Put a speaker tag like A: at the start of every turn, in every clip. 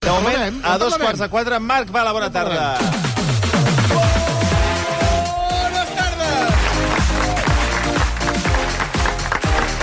A: De
B: parlarem,
A: moment,
B: en
A: a dos
B: parlarem.
A: quarts de quatre, Marc Bala, bona tarda. Bones tardes!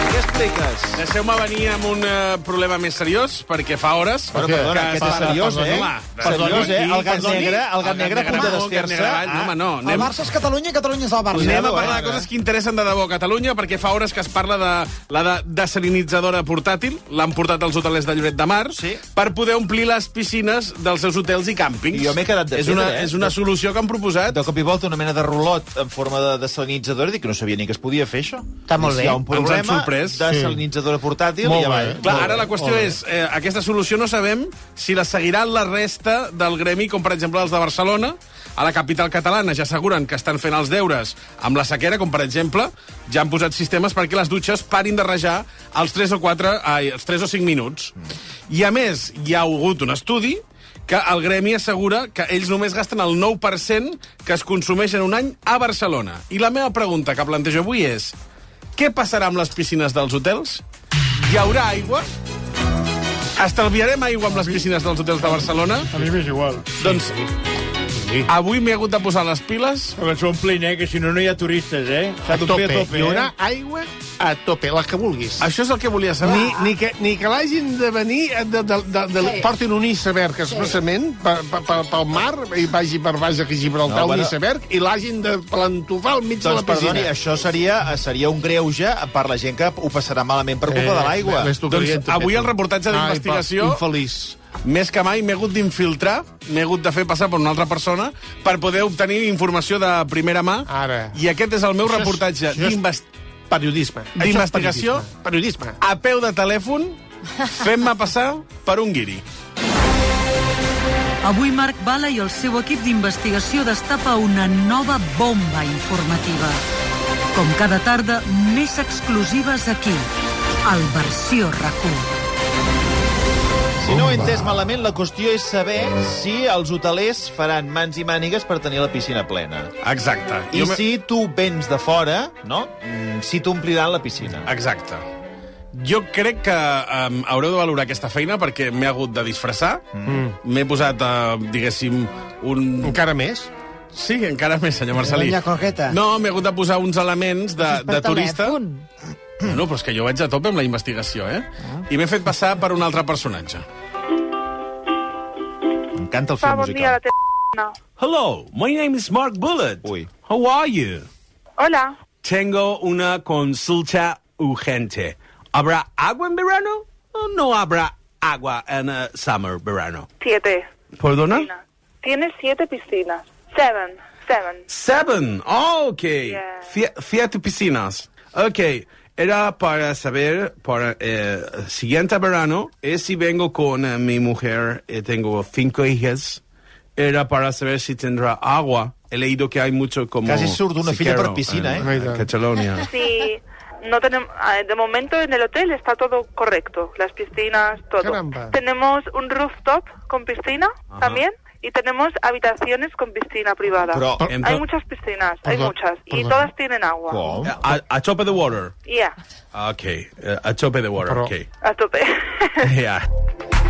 A: Què expliques?
C: Deixeu-me venir amb un eh, problema més seriós, perquè fa hores...
A: Bueno, perdona, aquest és seriós, eh? Seriós, eh? El gat negre, el gat negre a punt de desfiar-se.
C: No, home, no.
D: El
C: Anem,
D: Barça és Catalunya i Catalunya és el Barça.
C: anem a
A: eh?
C: parlar de coses que interessen de debò a Catalunya, perquè fa hores que es parla de la de desalinitzadora portàtil, l'han portat als hotelers de Lloret de Mar,
A: Sí.
C: per poder omplir les piscines dels seus hotels i càmpings.
A: I jo m'he quedat de
C: és una,
A: pedra, eh?
C: És una solució que han proposat.
A: De cop i volta una mena de rulot en forma de desalinitzadora. Dic que no sabia ni que es podia fer això.
D: Està molt
A: I
D: bé.
A: Si hi ha un
C: Ens han
A: problema,
C: sorprès.
A: desalinitzadora portàtil
B: Molt
A: i avall.
B: bé.
C: Clar,
B: Molt
C: ara
B: bé,
C: la qüestió
B: molt bé.
C: és, eh, aquesta solució no sabem si la seguiran la resta del gremi, com per exemple els de Barcelona, a la capital catalana ja asseguren que estan fent els deures amb la sequera, com per exemple ja han posat sistemes perquè les dutxes parin de rejar els 3 o 4, ai, els 3 o 5 minuts.
B: Mm.
C: I a més, hi ha hagut un estudi que el gremi assegura que ells només gasten el 9% que es consumeix en un any a Barcelona. I la meva pregunta que plantejo avui és què passarà amb les piscines dels hotels? Hi haurà aigua? Estalviarem aigua amb les piscines dels hotels de Barcelona?
B: A mi m'és igual.
C: Doncs avui m'he hagut de posar les piles.
E: Però que s'omplin, eh? Que si no, no hi ha turistes, eh?
B: A
E: S'ha
B: tope.
E: d'omplir a tope,
B: Hi haurà
E: eh?
B: aigua a tope, la que vulguis.
C: Això és el que volia saber.
B: Ni, ni, que, ni que l'hagin de venir, eh, de, de, de, de,
D: Sí.
B: portin un iceberg expressament pe- pe- pe- pel mar i vagi per baix a Gibraltar
A: No,
B: no,
A: bueno.
B: un iceberg i l'hagin de plantofar al mig
A: Doncs,
B: de la piscina.
A: perdoni, això seria, seria un greuge per la gent que ho passarà malament per culpa de
B: Eh,
A: l'aigua.
C: Doncs avui el reportatge d'investigació-
B: Infeliç.
C: Més que mai m'he hagut d'infiltrar, m'he hagut de fer passar per una altra persona per poder obtenir informació de primera mà.
B: Ara.
C: I aquest és el meu
B: Això és-
C: reportatge
B: això és-
C: d'investigació
B: Periodisme. Això és
C: D'investigació?
B: Periodisme. periodisme.
C: a peu de telèfon fent-me passar per un guiri.
F: Avui Marc Bala i el seu equip d'investigació destapa una nova bomba informativa. Com cada tarda, més exclusives aquí, al Versió RAC1.
A: Si no ho he entès malament, la qüestió és saber si els hotelers faran mans i mànigues per tenir la piscina plena.
C: Exacte.
A: I
C: me-
A: si tu vens de fora, no? Mm, Si t'ompliran la piscina.
C: Exacte. Jo crec que um, haureu de valorar aquesta feina perquè m'he hagut de disfressar. M'he posat, uh, diguéssim, un...
B: Encara més?
C: Sí, encara més, senyor Marcelí.
D: Doña Coqueta.
C: No, m'he hagut de posar uns elements de, de turista.
G: telèfon.
C: No, però és que jo vaig a tope amb la investigació, eh? I m'he fet passar per un altre personatge.
A: M'encanta el
H: Fa
A: film
H: bon dia a la
A: musical.
H: teva... No.
I: Hello, my name is Mark Bullet.
A: Uy.
I: How are you?
H: Hola.
I: Tengo una consulta urgente. ¿Habrá agua en verano o no habrá agua en eh, summer verano?
H: Siete.
I: ¿Perdona?
H: piscinas. Tienes siete piscinas. Seven. Seven.
I: Seven. Oh, ok.
H: Yeah.
I: Sie- Siete piscinas. Ok. Era para saber para eh, siguiente verano es si vengo con eh, mi mujer. eh, tengo cinco hijas. Era para saber si tendrá agua. He leído que hay mucho como
A: Casi surdo una fila
I: sequero
A: por piscina,
I: en-
A: ¿eh?
I: en Catalonia.
H: Sí. No tenemos, ah, de momento en el hotel está todo correcto, las piscinas, todo.
B: Caramba.
H: Tenemos un rooftop con piscina también y tenemos habitaciones con piscina privada.
A: Pero-
H: hay
I: Ento-
H: muchas piscinas, hay
B: Perdón,
H: muchas y
B: perdón.
H: todas tienen agua.
A: Com?
I: A, a tope de water.
H: Yeah,
I: Ok, eh, a tope de water,
B: Però-
I: ok.
H: a tope.
I: Yeah.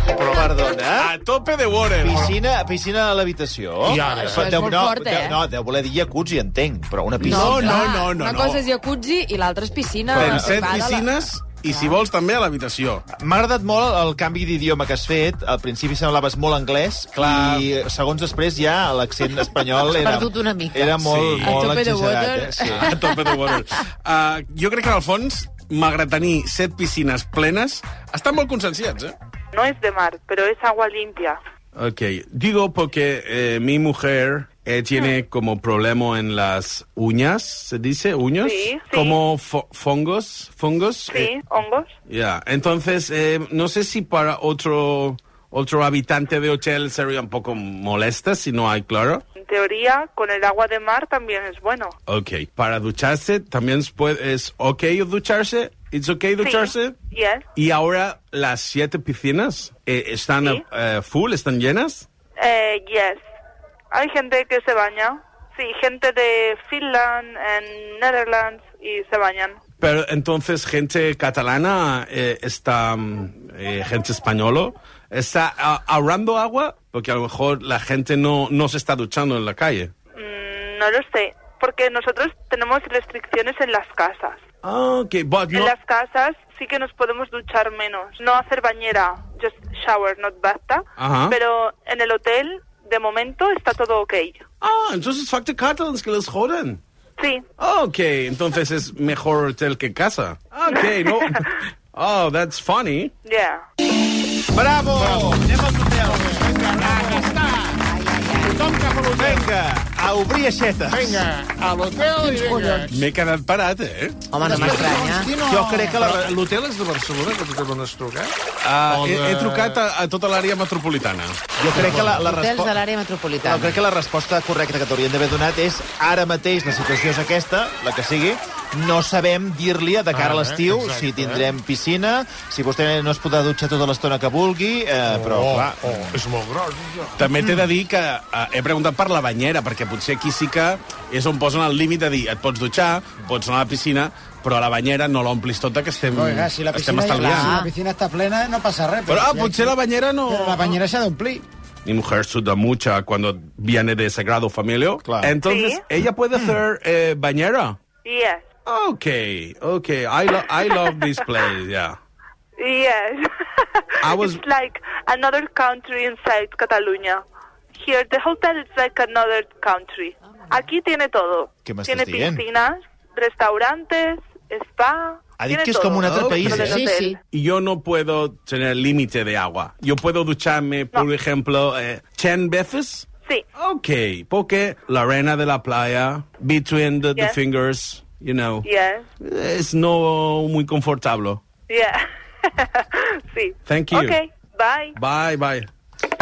A: Però, perdona, eh?
C: A tope de water.
A: piscina, piscina a l'habitació.
B: I ara?
G: Això és
A: deu,
G: molt
A: no,
G: fort, eh?
A: deu, no, deu voler dir jacuzzi, entenc, però una
C: No,
A: piscina...
C: no,
G: clar,
C: no, no,
G: Una
C: no.
G: cosa és jacuzzi i l'altra és piscina.
C: Fem set
G: privada, la- Ah.
C: piscines i, si vols, també a l'habitació.
A: M'ha agradat molt el canvi d'idioma que has fet. Al principi semblaves molt anglès
C: Clar.
A: i segons després ja l'accent espanyol era,
G: perdut una mica.
A: era molt,
C: Sí.
A: sí. molt
G: A tope de
A: exagerat.
G: water.
A: Eh? Sí.
C: a tope de water. Uh, jo crec que, al fons, malgrat tenir set piscines plenes, estan molt conscienciats, eh?
H: No es de mar, pero es agua limpia.
I: Ok, digo porque eh, mi mujer eh, tiene
H: Ah.
I: como problema en las uñas, ¿se dice? ¿Uñas?
H: Sí, sí.
I: Como fo- fongos, fongos. Eh,
H: Sí, hongos.
I: Ya, entonces, eh, no sé si para otro, otro habitante de hotel sería un poco molesta si no hay, claro.
H: En teoría, con el agua de mar también es bueno.
I: Ok, para ducharse también se puede- es ok ducharse, it's ok ducharse.
H: Sí. Yes.
I: Y ahora las siete piscinas eh, están
H: Sí.
I: eh, full, están llenas.
H: Eh, yes. Hay gente que se baña. Sí, gente de Finland, en Netherlands y se bañan.
I: Pero entonces gente catalana, eh, está, mm, eh, gente española, está ah, ahorrando agua porque a lo mejor la gente no, no se está duchando en la calle.
H: Mm, No lo sé, porque nosotros tenemos restricciones en las casas.
I: Ah, ok, but
H: En
I: no-
H: las casas sí que nos podemos duchar menos, no hacer bañera, just shower, not basta.
I: Ajá.
H: Pero en el hotel, de momento, está todo ok.
I: Ah, entonces factor Catalans que les joden. Ah,
H: Sí,
I: Ok, entonces es mejor hotel que casa. Ah, Ok, no. Oh, that's funny.
H: yeah.
A: Bravo! Bravo. Anem als hotels. Vinga, aquí està. Tothom cap a l'hotel. Vinga, a obrir aixetes.
B: Vinga, a l'hotel i vinga.
C: M'he quedat parat, eh?
D: Home, no m'estranya.
A: Jo crec que la...
B: L'hotel és de Barcelona, que tu te dones trucar?
C: Ah,
B: O
C: he,
B: de-
C: he trucat a, a tota l'àrea metropolitana.
A: Jo crec que la, la
D: Hotels de
A: resposta...
D: l'àrea
A: No,
D: metropolitana.
A: crec que la resposta correcta que t'haurien d'haver donat és ara mateix la situació és aquesta, la que sigui, no sabem dir-li de cara a
B: Ah, eh?
A: l'estiu
B: Exacte,
A: si tindrem piscina, si vostè no es podrà dutxar tota l'estona que vulgui, eh, però
B: Oh,
A: clar...
B: oh, és molt gros, això.
C: També
B: Mm.
C: t'he de dir que eh, he preguntat per la banyera, perquè potser aquí sí que és on posen el límit de dir et pots dutxar, pots anar a la piscina, però a la banyera no l'omplis tota, que estem,
J: Oiga, si la
C: estem
J: piscina, si
C: estalviant.
J: la piscina està plena, no passa res.
C: Però ah,
J: si
C: potser la banyera no...
J: Però la banyera s'ha d'omplir.
I: Mi mujer suda mucha cuando viene de sagrado familia.
A: Claro.
I: Entonces,
H: Sí.
I: ella puede hacer eh, bañera.
H: Yes.
I: Ok, ok. I, lo I love this place, yeah.
H: Yes.
I: I was-
H: It's like another country inside Catalunya. Here, the hotel is like another country.
D: Ah,
H: Aquí tiene todo.
A: ¿Qué me
H: tiene
A: estás diciendo?
H: piscinas, restaurantes, spa.
A: Ha dit
H: tiene
A: que es como un
H: todo
A: otro país,
H: dentro
A: ¿eh?
H: del
D: Sí,
H: hotel.
D: sí.
I: Y yo no puedo tener límite de agua. Yo puedo ducharme, por
H: No.
I: ejemplo, eh, 10 veces.
H: Sí.
I: Ok, porque la arena de la playa, between the, the
H: Yes.
I: fingers, you know,
H: Yes.
I: es no muy confortable.
H: Yeah. sí.
I: Thank you.
H: Okay. Bye.
I: Bye, bye.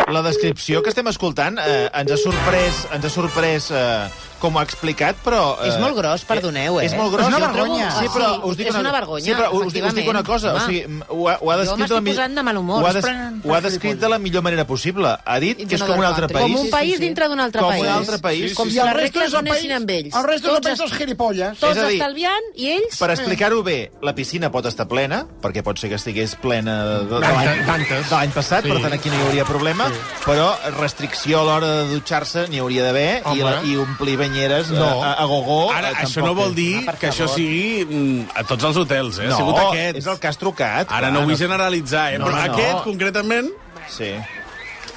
A: La descripció que estem escoltant eh, ens ha sorprès, ens ha sorprès eh, com ho ha explicat, però... Eh,
D: És molt gros, perdoneu, eh? Ah,
A: És molt gros.
J: És una
A: jo trobo-
J: vergonya.
A: Sí, però
D: Sí,
A: us dic
D: és una vergonya,
A: Sí, però us dic, us dic una
D: efectivament.
A: cosa. O
D: Home.
A: sigui, m- ho ha, ho ha
D: Jo
A: descrit, la
D: m'estic
A: mi-
D: posant de mal humor.
A: Ho ha,
D: Es
A: des...
D: prenen
A: ho ha
D: per
A: descrit
D: frívol.
A: de la millor manera possible. Ha dit que és com un altre país.
D: Com un
A: Sí, sí,
D: país
A: sí.
D: dintre d'un altre
A: Com un
D: país.
A: altre país.
D: Com
A: Sí,
D: si
A: sí.
D: les
J: El resto
D: regles
J: del
D: anessin
J: país-
D: amb ells.
J: El resto del
D: Tots
J: país, els gilipolles.
A: És
D: Tots
A: a dir,
D: estalviant i ells... eh.
A: Per explicar-ho bé, la piscina pot estar plena, perquè pot ser que estigués plena de, de, de l'any-
B: tantes.
A: de l'any passat,
B: Sí.
A: per tant aquí no hi hauria problema, però restricció a l'hora de dutxar-se n'hi hauria d'haver, i, la-
B: Home.
A: i omplir banyeres no.
B: No.
A: a, a gogó...
C: Ara,
A: eh,
C: això no
A: tampoc
C: vol
A: és-
C: dir que això sigui mm, a tots els hotels, eh?
A: No,
C: ha sigut aquest.
A: és el que has trucat.
C: Ara
A: clar,
C: no vull generalitzar, eh?
A: No,
C: No, però
A: no,
C: no,
A: no.
C: aquest, concretament,
A: Sí.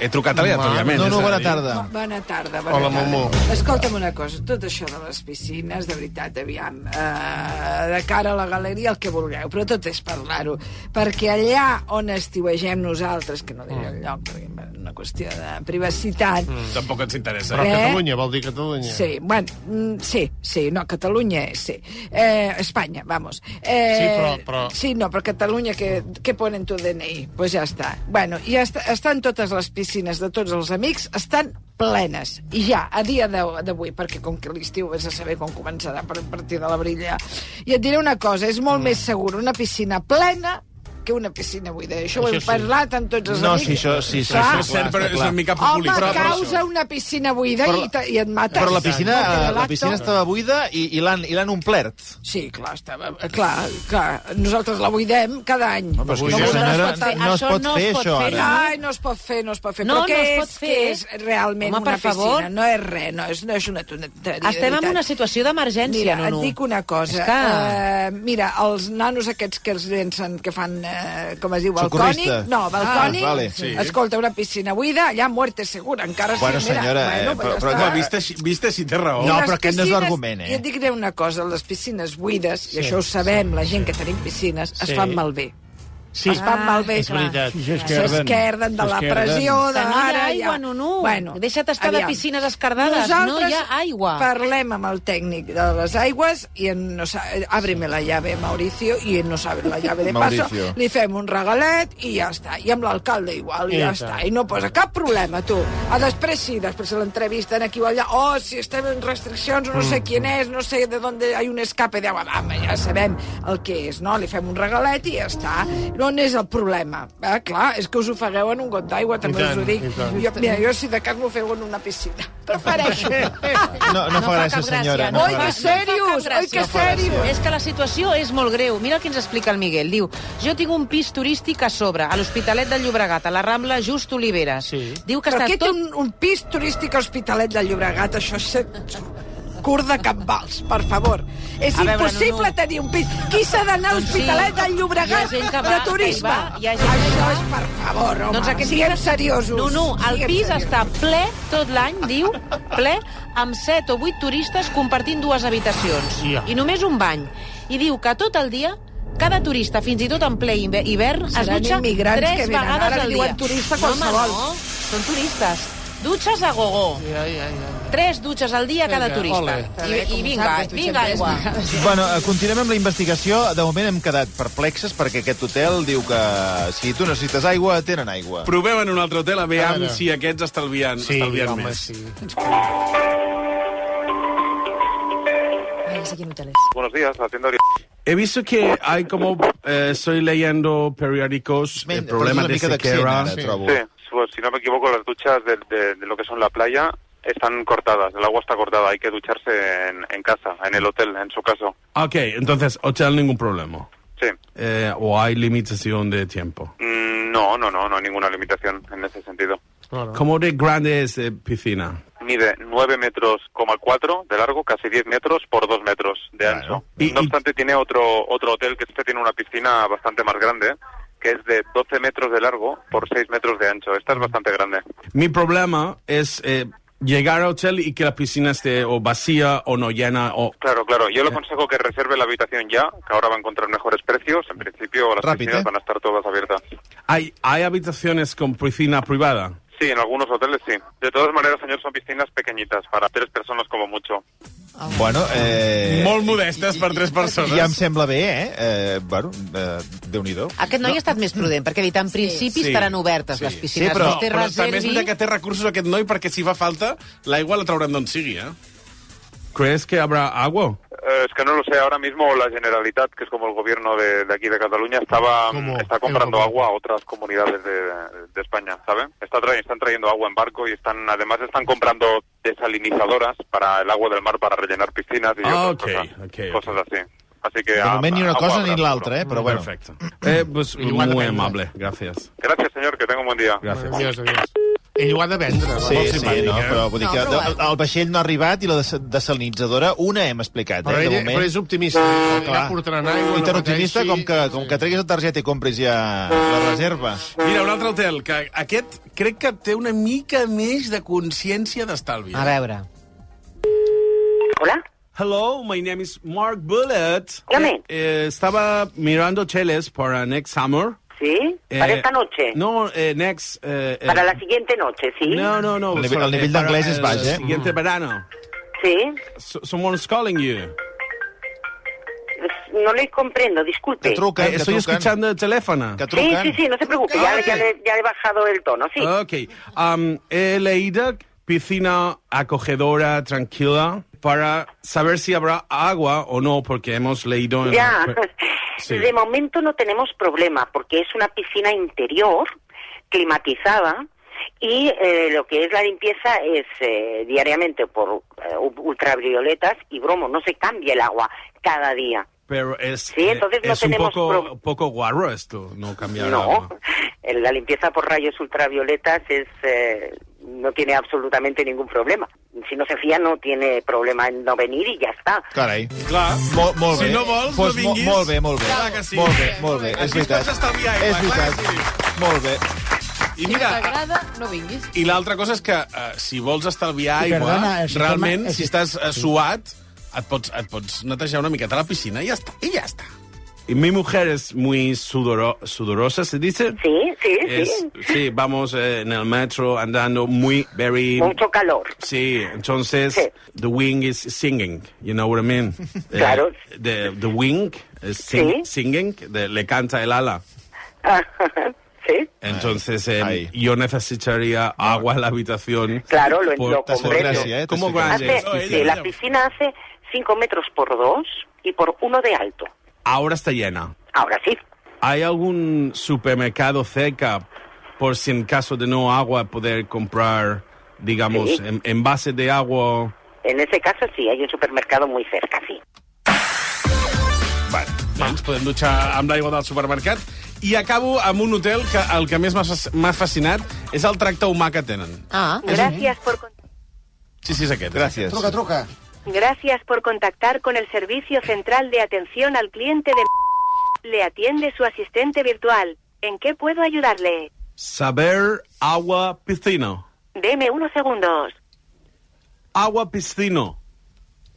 C: he trucat aleatòriament.
A: No,
C: és
A: no,
C: a
A: bona
C: dir-
A: tarda.
K: Bona tarda, bona
B: Hola,
K: tarda.
B: Momo.
K: Escolta'm una cosa, tot això de les piscines, de veritat, aviam, eh, de cara a la galeria, el que vulgueu, però tot és parlar-ho, perquè allà on estiuegem nosaltres, que no diré
B: Mm.
K: el lloc, perquè és una qüestió de privacitat,
C: Tampoc ens interessa.
B: Però
K: Eh?
B: Catalunya, vol dir Catalunya.
K: Sí, bueno, mm, sí, sí, no, Catalunya, sí. Eh, Espanya, vamos. Eh,
B: Sí, però- però-
K: Sí, no, però Catalunya, que, que ponen tu DNI? Pues ja està. Bueno, ja est estan totes les piscines de tots els amics, estan plenes. I ja, a dia d'au- d'avui, perquè com que l'estiu vés a saber quan començarà per a partir de l'abril ja. I et diré una cosa, és molt més segur una piscina plena que una piscina buida. Això, ho
B: Això
K: hem
B: sí.
K: parlat amb tots els
A: No,
K: amics.
A: sí, això, sí, sí,
K: Clar.
A: sí,
C: és cert, però és una mica
K: Home,
C: populista. Però- però-
K: causa una piscina buida
A: Però la-
K: i, te- i et mates.
A: Però la piscina,
K: Perquè de
A: eh, la
K: lacto-
A: piscina estava buida i, i l'han i l'han omplert.
K: Sí, clar, estava... Clar, clar, nosaltres la buidem cada any.
A: Però és que,
B: No,
A: això,
B: no es
A: senyora,
D: pot fer,
A: no es
D: això
A: pot
D: no es
A: fer,
D: pot
A: això,
D: fer,
A: ara.
K: Ai, no es pot fer, no es pot fer.
D: No,
K: Però què
D: no es
K: és,
D: pot fer.
K: què és realment
D: Home,
K: una
D: per favor.
K: piscina? No és res, no és, no és una tonteria.
D: Estem en una situació d'emergència,
K: Mira,
D: no, no.
K: et dic una cosa.
D: És que...
K: eh, mira, els nanos aquests que es llencen, que fan, eh, com es diu, balcònic...
A: Socorristes.
K: No, balcònic.
A: Ah, vale, sí.
K: Escolta, una piscina buida, allà muerte segura, encara
A: Bueno,
K: sí. Mira,
A: senyora, eh,
K: bueno,
A: però-
K: ja
A: però-
K: està.
C: Home, viste, si- viste si té raó.
A: No,
K: Les
A: però aquest no és
K: piscines-
A: l'argument, eh?
K: Jo et diré una cosa, les piscines buides, i això ho sabem, la gent que tenim piscines, es
B: Sí.
K: fan malbé.
B: Sí,
K: Es fan
A: Ah,
K: malbé.
B: és veritat.
E: Sí, s'esquerden.
K: S'esquerden de la
E: S'esquerden.
K: pressió, de
D: Que no hi ha
K: ara,
D: aigua, no, no. Deixa't estar de piscines escardades,
K: Nosaltres
D: no hi ha aigua.
K: parlem amb el tècnic de les aigües i en no sa- ábreme la llave, Mauricio, i en no sabe la llave de paso,
A: Mauricio.
K: li fem un regalet i ja està. I amb l'alcalde igual, i,
B: I
K: ja
B: tant.
K: està. I no posa cap problema, tu. A després sí, després l'entrevisten aquí o allà, oh, si estem en restriccions, no sé quién és, no sé de dónde hay un escape de agua. Home, ja sabem el que és, no? Li fem un regalet i ja està. no n'és el problema. Ah, clar, és que us ofegueu en un got d'aigua, també
B: tant,
K: us ho dic.
B: i tant.
K: Jo, mira, jo si de cas m'ofego en una piscina. Prefereixo.
A: No,
K: Ah,
A: no, fa gràcia, senyora. No
K: Oi,
A: fa
K: que
A: gràcia.
K: serios! Oi, que serios!
D: És que la situació és molt greu. Mira el que ens explica el Miguel. Diu, jo tinc un pis turístic a sobre, a l'Hospitalet de Llobregat, a la Rambla Just Oliveres. Sí. Diu que
K: Però
D: està
K: què
D: tot...
K: té un, un pis turístic a Hospitalet de Llobregat? Això és curt de cap vals, per favor. És
D: A veure,
K: impossible
D: no, no.
K: tenir un pis. Qui s'ha d'anar a
D: Doncs sí,
K: l'Hospitalet del Llobregat
D: hi ha gent que va,
K: de
D: que hi
K: turisme?
D: va, hi ha gent que hi
K: Això
D: va.
K: és, per favor, home,
D: Doncs aquest
K: siguem
D: pis-
K: seriosos.
D: No, no, el
K: Siguem
D: pis
K: seriosos.
D: està ple tot l'any, diu, ple, amb set o vuit turistes compartint dues habitacions.
L: Ja.
D: I només un bany. I diu que tot el dia cada turista, fins i tot en ple inve- hivern, es
K: Seran
D: dutxa
K: immigrants
D: tres
K: que venen.
D: vegades
K: Ara
D: al
K: li
D: dia.
K: diuen turista
D: No, home,
K: qualsevol.
D: no, són turistes. Dutxes a gogó.
L: Ja, ja, ja.
D: Tres dutxes al dia cada
L: Vinga,
D: turista.
L: ole.
D: I, I vinga, vinga, aigua.
A: Bueno, eh, continuem amb la investigació. De moment hem quedat perplexes perquè aquest hotel diu que si tu necessites aigua, tenen aigua.
C: Proveu en un altre hotel a veure
A: Ara.
C: si aquests estalvien, sí, estalvien home, més. Sí.
L: Ai, sé quién hotel
M: Buenos días, la tienda
I: He visto que hay como, eh, estoy leyendo periódicos, el problema de sequera.
M: Sí, pues, si no me equivoco, las duchas de, de- de lo que son la playa están cortadas, el agua está cortada, hay que ducharse en, en casa, en el hotel, en su caso.
I: Ok, entonces, hotel ningún problema.
M: Sí.
I: Eh, o hay limitación de tiempo.
M: Mm, No, no, no, no hay ninguna limitación en ese sentido.
I: ¿Cómo de grande es eh, piscina?
M: Mide 9 metros, coma cuatro de largo, casi 10 metros por 2 metros de ancho. no obstante, tiene otro, otro hotel que este tiene una piscina bastante más grande, que es de 12 metros de largo por 6 metros de ancho. Esta es bastante grande.
I: Mi problema es eh, llegar al hotel y que la piscina esté o vacía o no llena o...
M: Claro, claro. Yo le aconsejo que reserve la habitación ya, que ahora va a encontrar mejores precios. En principio las
I: Rápido,
M: piscinas
I: ¿eh?
M: van a estar todas abiertas.
I: ¿Hay, hay habitaciones con piscina privada?
M: Sí, en algunos hoteles sí. De todas maneras, señor, son piscinas pequeñitas, para tres personas como mucho.
A: Bueno, eh...
C: Molt modestes per tres persones.
A: Ja em sembla bé, eh? eh bueno, eh, Déu-n'hi-do.
D: Aquest noi ha estat més prudent, perquè ha dit, en principi
C: Sí.
D: estaran obertes les piscines.
C: Sí, però,
D: Vostè
C: però també és
D: reservi-
C: veritat que té recursos aquest noi perquè si fa falta l'aigua la traurem d'on sigui, eh?
I: ¿Crees que habrá agua?
M: Eh, es que no lo sé, ahora mismo la Generalitat, que es como el gobierno de, de aquí de Cataluña, estaba está comprando agua a otras comunidades de, de España, ¿saben? Está tra- están trayendo agua en barco y están además están comprando desalinizadoras para el agua del mar para rellenar piscinas y
I: Ah,
M: otras
I: ok,
M: cosas,
I: ok,
M: cosas así. Así que
A: De
M: ah,
A: moment ni una
M: agua
A: cosa
M: habrá
A: ni l'altra, eh? Però bueno.
I: Perfecto. Eh, pues muy amable, gracias.
M: Gracias, señor, que tenga un buen día.
I: Gracias.
B: Adiós, adiós. Ell ho ha de vendre.
A: Sí,
B: Molt
A: sí,
B: simpàtic,
A: no,
B: eh?
A: però vull dir que el, el vaixell no ha arribat i la des- desalinitzadora una hem explicat,
B: Però
A: eh,
B: ell-
A: de moment.
B: però és optimista.
C: Ah,
B: Ja portaran aigua,
A: I tan
B: no
A: optimista
B: pateixi.
A: com que, com que treguis la targeta i compris ja la reserva.
C: Mira, un altre hotel, que aquest crec que té una mica més de consciència d'estalvi.
D: A veure.
I: Hola. Hello, my name is Mark Bullet.
N: Dígame.
I: Eh, eh, estaba mirando hoteles para next summer.
N: ¿Sí? ¿Para esta noche?
I: Eh, No, eh, next... eh, eh,
N: Para la siguiente noche, ¿sí?
I: No, no, no.
A: El nivell-
I: sorry,
A: el nivell
I: para
A: d'anglès és baix, eh?
I: El siguiente verano.
N: Sí.
I: So, someone's calling you.
N: No le comprendo, disculpe.
I: Eh, estoy escuchando el teléfono. Que
N: Sí, sí, sí, no se preocupe, ya, ya le, ya he bajado el tono, sí.
I: Ok. Am, he leído piscina acogedora, tranquila, para saber si habrá agua o no, porque hemos leído... en-
N: Ya,
I: pues, Sí.
N: de momento no tenemos problema porque es una piscina interior, climatizada, y eh, lo que es la limpieza es eh, diariamente por eh, u- ultravioletas y bromo, no se cambia el agua cada día.
I: Pero es, eh,
N: Sí, entonces no
I: es un
N: tenemos
I: poco,
N: pro-
I: poco guarro esto, no cambiar
N: No.
I: agua.
N: Eh, La limpieza por rayos ultravioletas es eh, no tiene absolutamente ningún problema. Si no se fía no tiene problema en no venir y ya está.
A: Carai.
C: Clar.
A: Molt, molt
N: Si
A: bé.
N: no vols,
A: Pues
N: no
A: mo-
N: vinguis.
A: Molt bé, molt bé.
N: Clar que sí.
A: Molt bé, molt bé.
N: Aquí
A: És
N: es
A: veritat.
N: pots estalviar aigua,
A: És
N: clar
A: veritat. Molt bé.
C: I
G: Si no
C: mira,
G: t'agrada, no vinguis.
C: I l'altra cosa és que eh, si vols estalviar
J: I
C: aigua,
J: perdona, el sistema-
C: realment,
J: el
C: eh, si
J: sistema-
C: estàs eh, suat, et pots, et pots netejar una miqueta a la piscina i ja està. I ja està.
I: Y mi mujer es muy sudoro- sudorosa, ¿se dice?
N: Sí, sí,
I: Es-
N: sí.
I: Sí, vamos eh, en el metro andando muy, very...
N: Mucho calor.
I: Sí, entonces, the wing is singing, you know what I mean? Eh,
N: Claro.
I: the, the wing is sing- singing, de- le canta el ala.
N: sí.
I: Entonces, eh, yo necesitaría agua en la habitación.
N: Claro, lo,
I: por-
N: lo
I: por-
N: comprendo.
I: ¿Cómo
N: Hace-
I: grande?
N: sí, la piscina hace 5 metros por 2 y por 1 de alto.
I: Ahora está llena.
N: Ahora sí.
I: ¿Hay algún supermercado cerca por si en caso de no agua poder comprar, digamos,
N: Sí.
I: en- envases de agua?
N: En ese caso sí, hay un supermercado muy cerca, sí.
C: Bueno, ens Doncs podem dutxar amb l'aigua del supermercat. I acabo amb un hotel que el que més m'ha fas- m'ha fascinat és el tracte humà que tenen.
D: Ah,
O: Gracias por, con-
C: Sí, sí, és aquest. Gràcies.
J: Truca, truca.
O: gracias por contactar con el Servicio Central de Atención al Cliente de... Le atiende su asistente virtual. ¿En qué puedo ayudarle?
I: Saber agua piscina.
O: Deme unos segundos.
I: Agua piscina.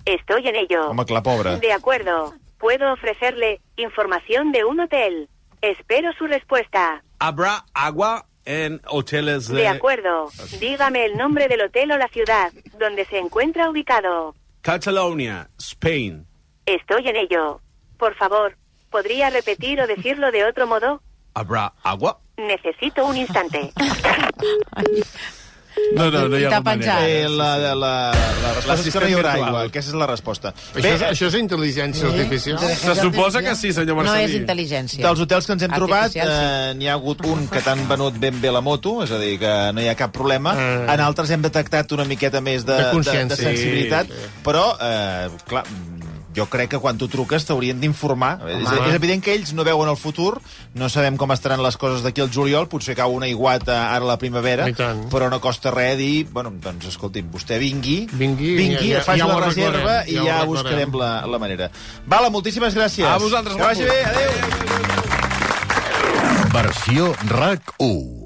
O: Estoy en ello.
I: la pobra.
O: De acuerdo. Puedo ofrecerle información de un hotel. Espero su respuesta.
I: ¿Habrá agua en hoteles de...
O: De acuerdo. Dígame el nombre del hotel o la ciudad donde se encuentra ubicado.
I: Catalonia, Spain.
O: Estoy en ello. Por favor, ¿podría repetir o decirlo de otro modo?
I: ¿Habrá agua?
O: Necesito un instante.
C: No, no, no hi ha
A: T'ha
C: alguna manera.
A: penjat. Eh, la- la-
C: la
A: La és que no hi haurà aigua,
C: virtual.
A: aquesta és la resposta.
B: Això és- això és intel·ligència Sí, artificial?
C: Se suposa que sí, senyor Marcelí.
D: No és intel·ligència.
A: Dels hotels que ens hem trobat,
D: Artificial, sí.
A: eh, n'hi ha hagut un que t'han venut ben bé la moto, és a dir, que no hi ha cap problema.
B: Eh.
A: En altres hem detectat una miqueta més de,
B: De
A: de, de,
B: consciència.
A: sensibilitat,
B: Sí,
A: però, eh, clar, mm, jo crec que quan tu truques t'haurien d'informar. És,
B: Home.
A: és evident que ells no veuen el futur, no sabem com estaran les coses d'aquí al juliol, potser cau una iguata ara a la primavera,
B: I tant.
A: però no costa res dir, bueno, doncs, escolti'm, vostè vingui,
B: Vingui,
A: vingui
B: ja- ja-
A: faci
B: ja
A: la
B: ho arreglarem,
A: reserva i
B: ja ho
A: ja
B: arreglarem.
A: buscarem la, la manera. Vala, moltíssimes gràcies.
C: A vosaltres,
A: Que vagi
C: guapos.
A: bé, adéu.
P: Versió RAC 1.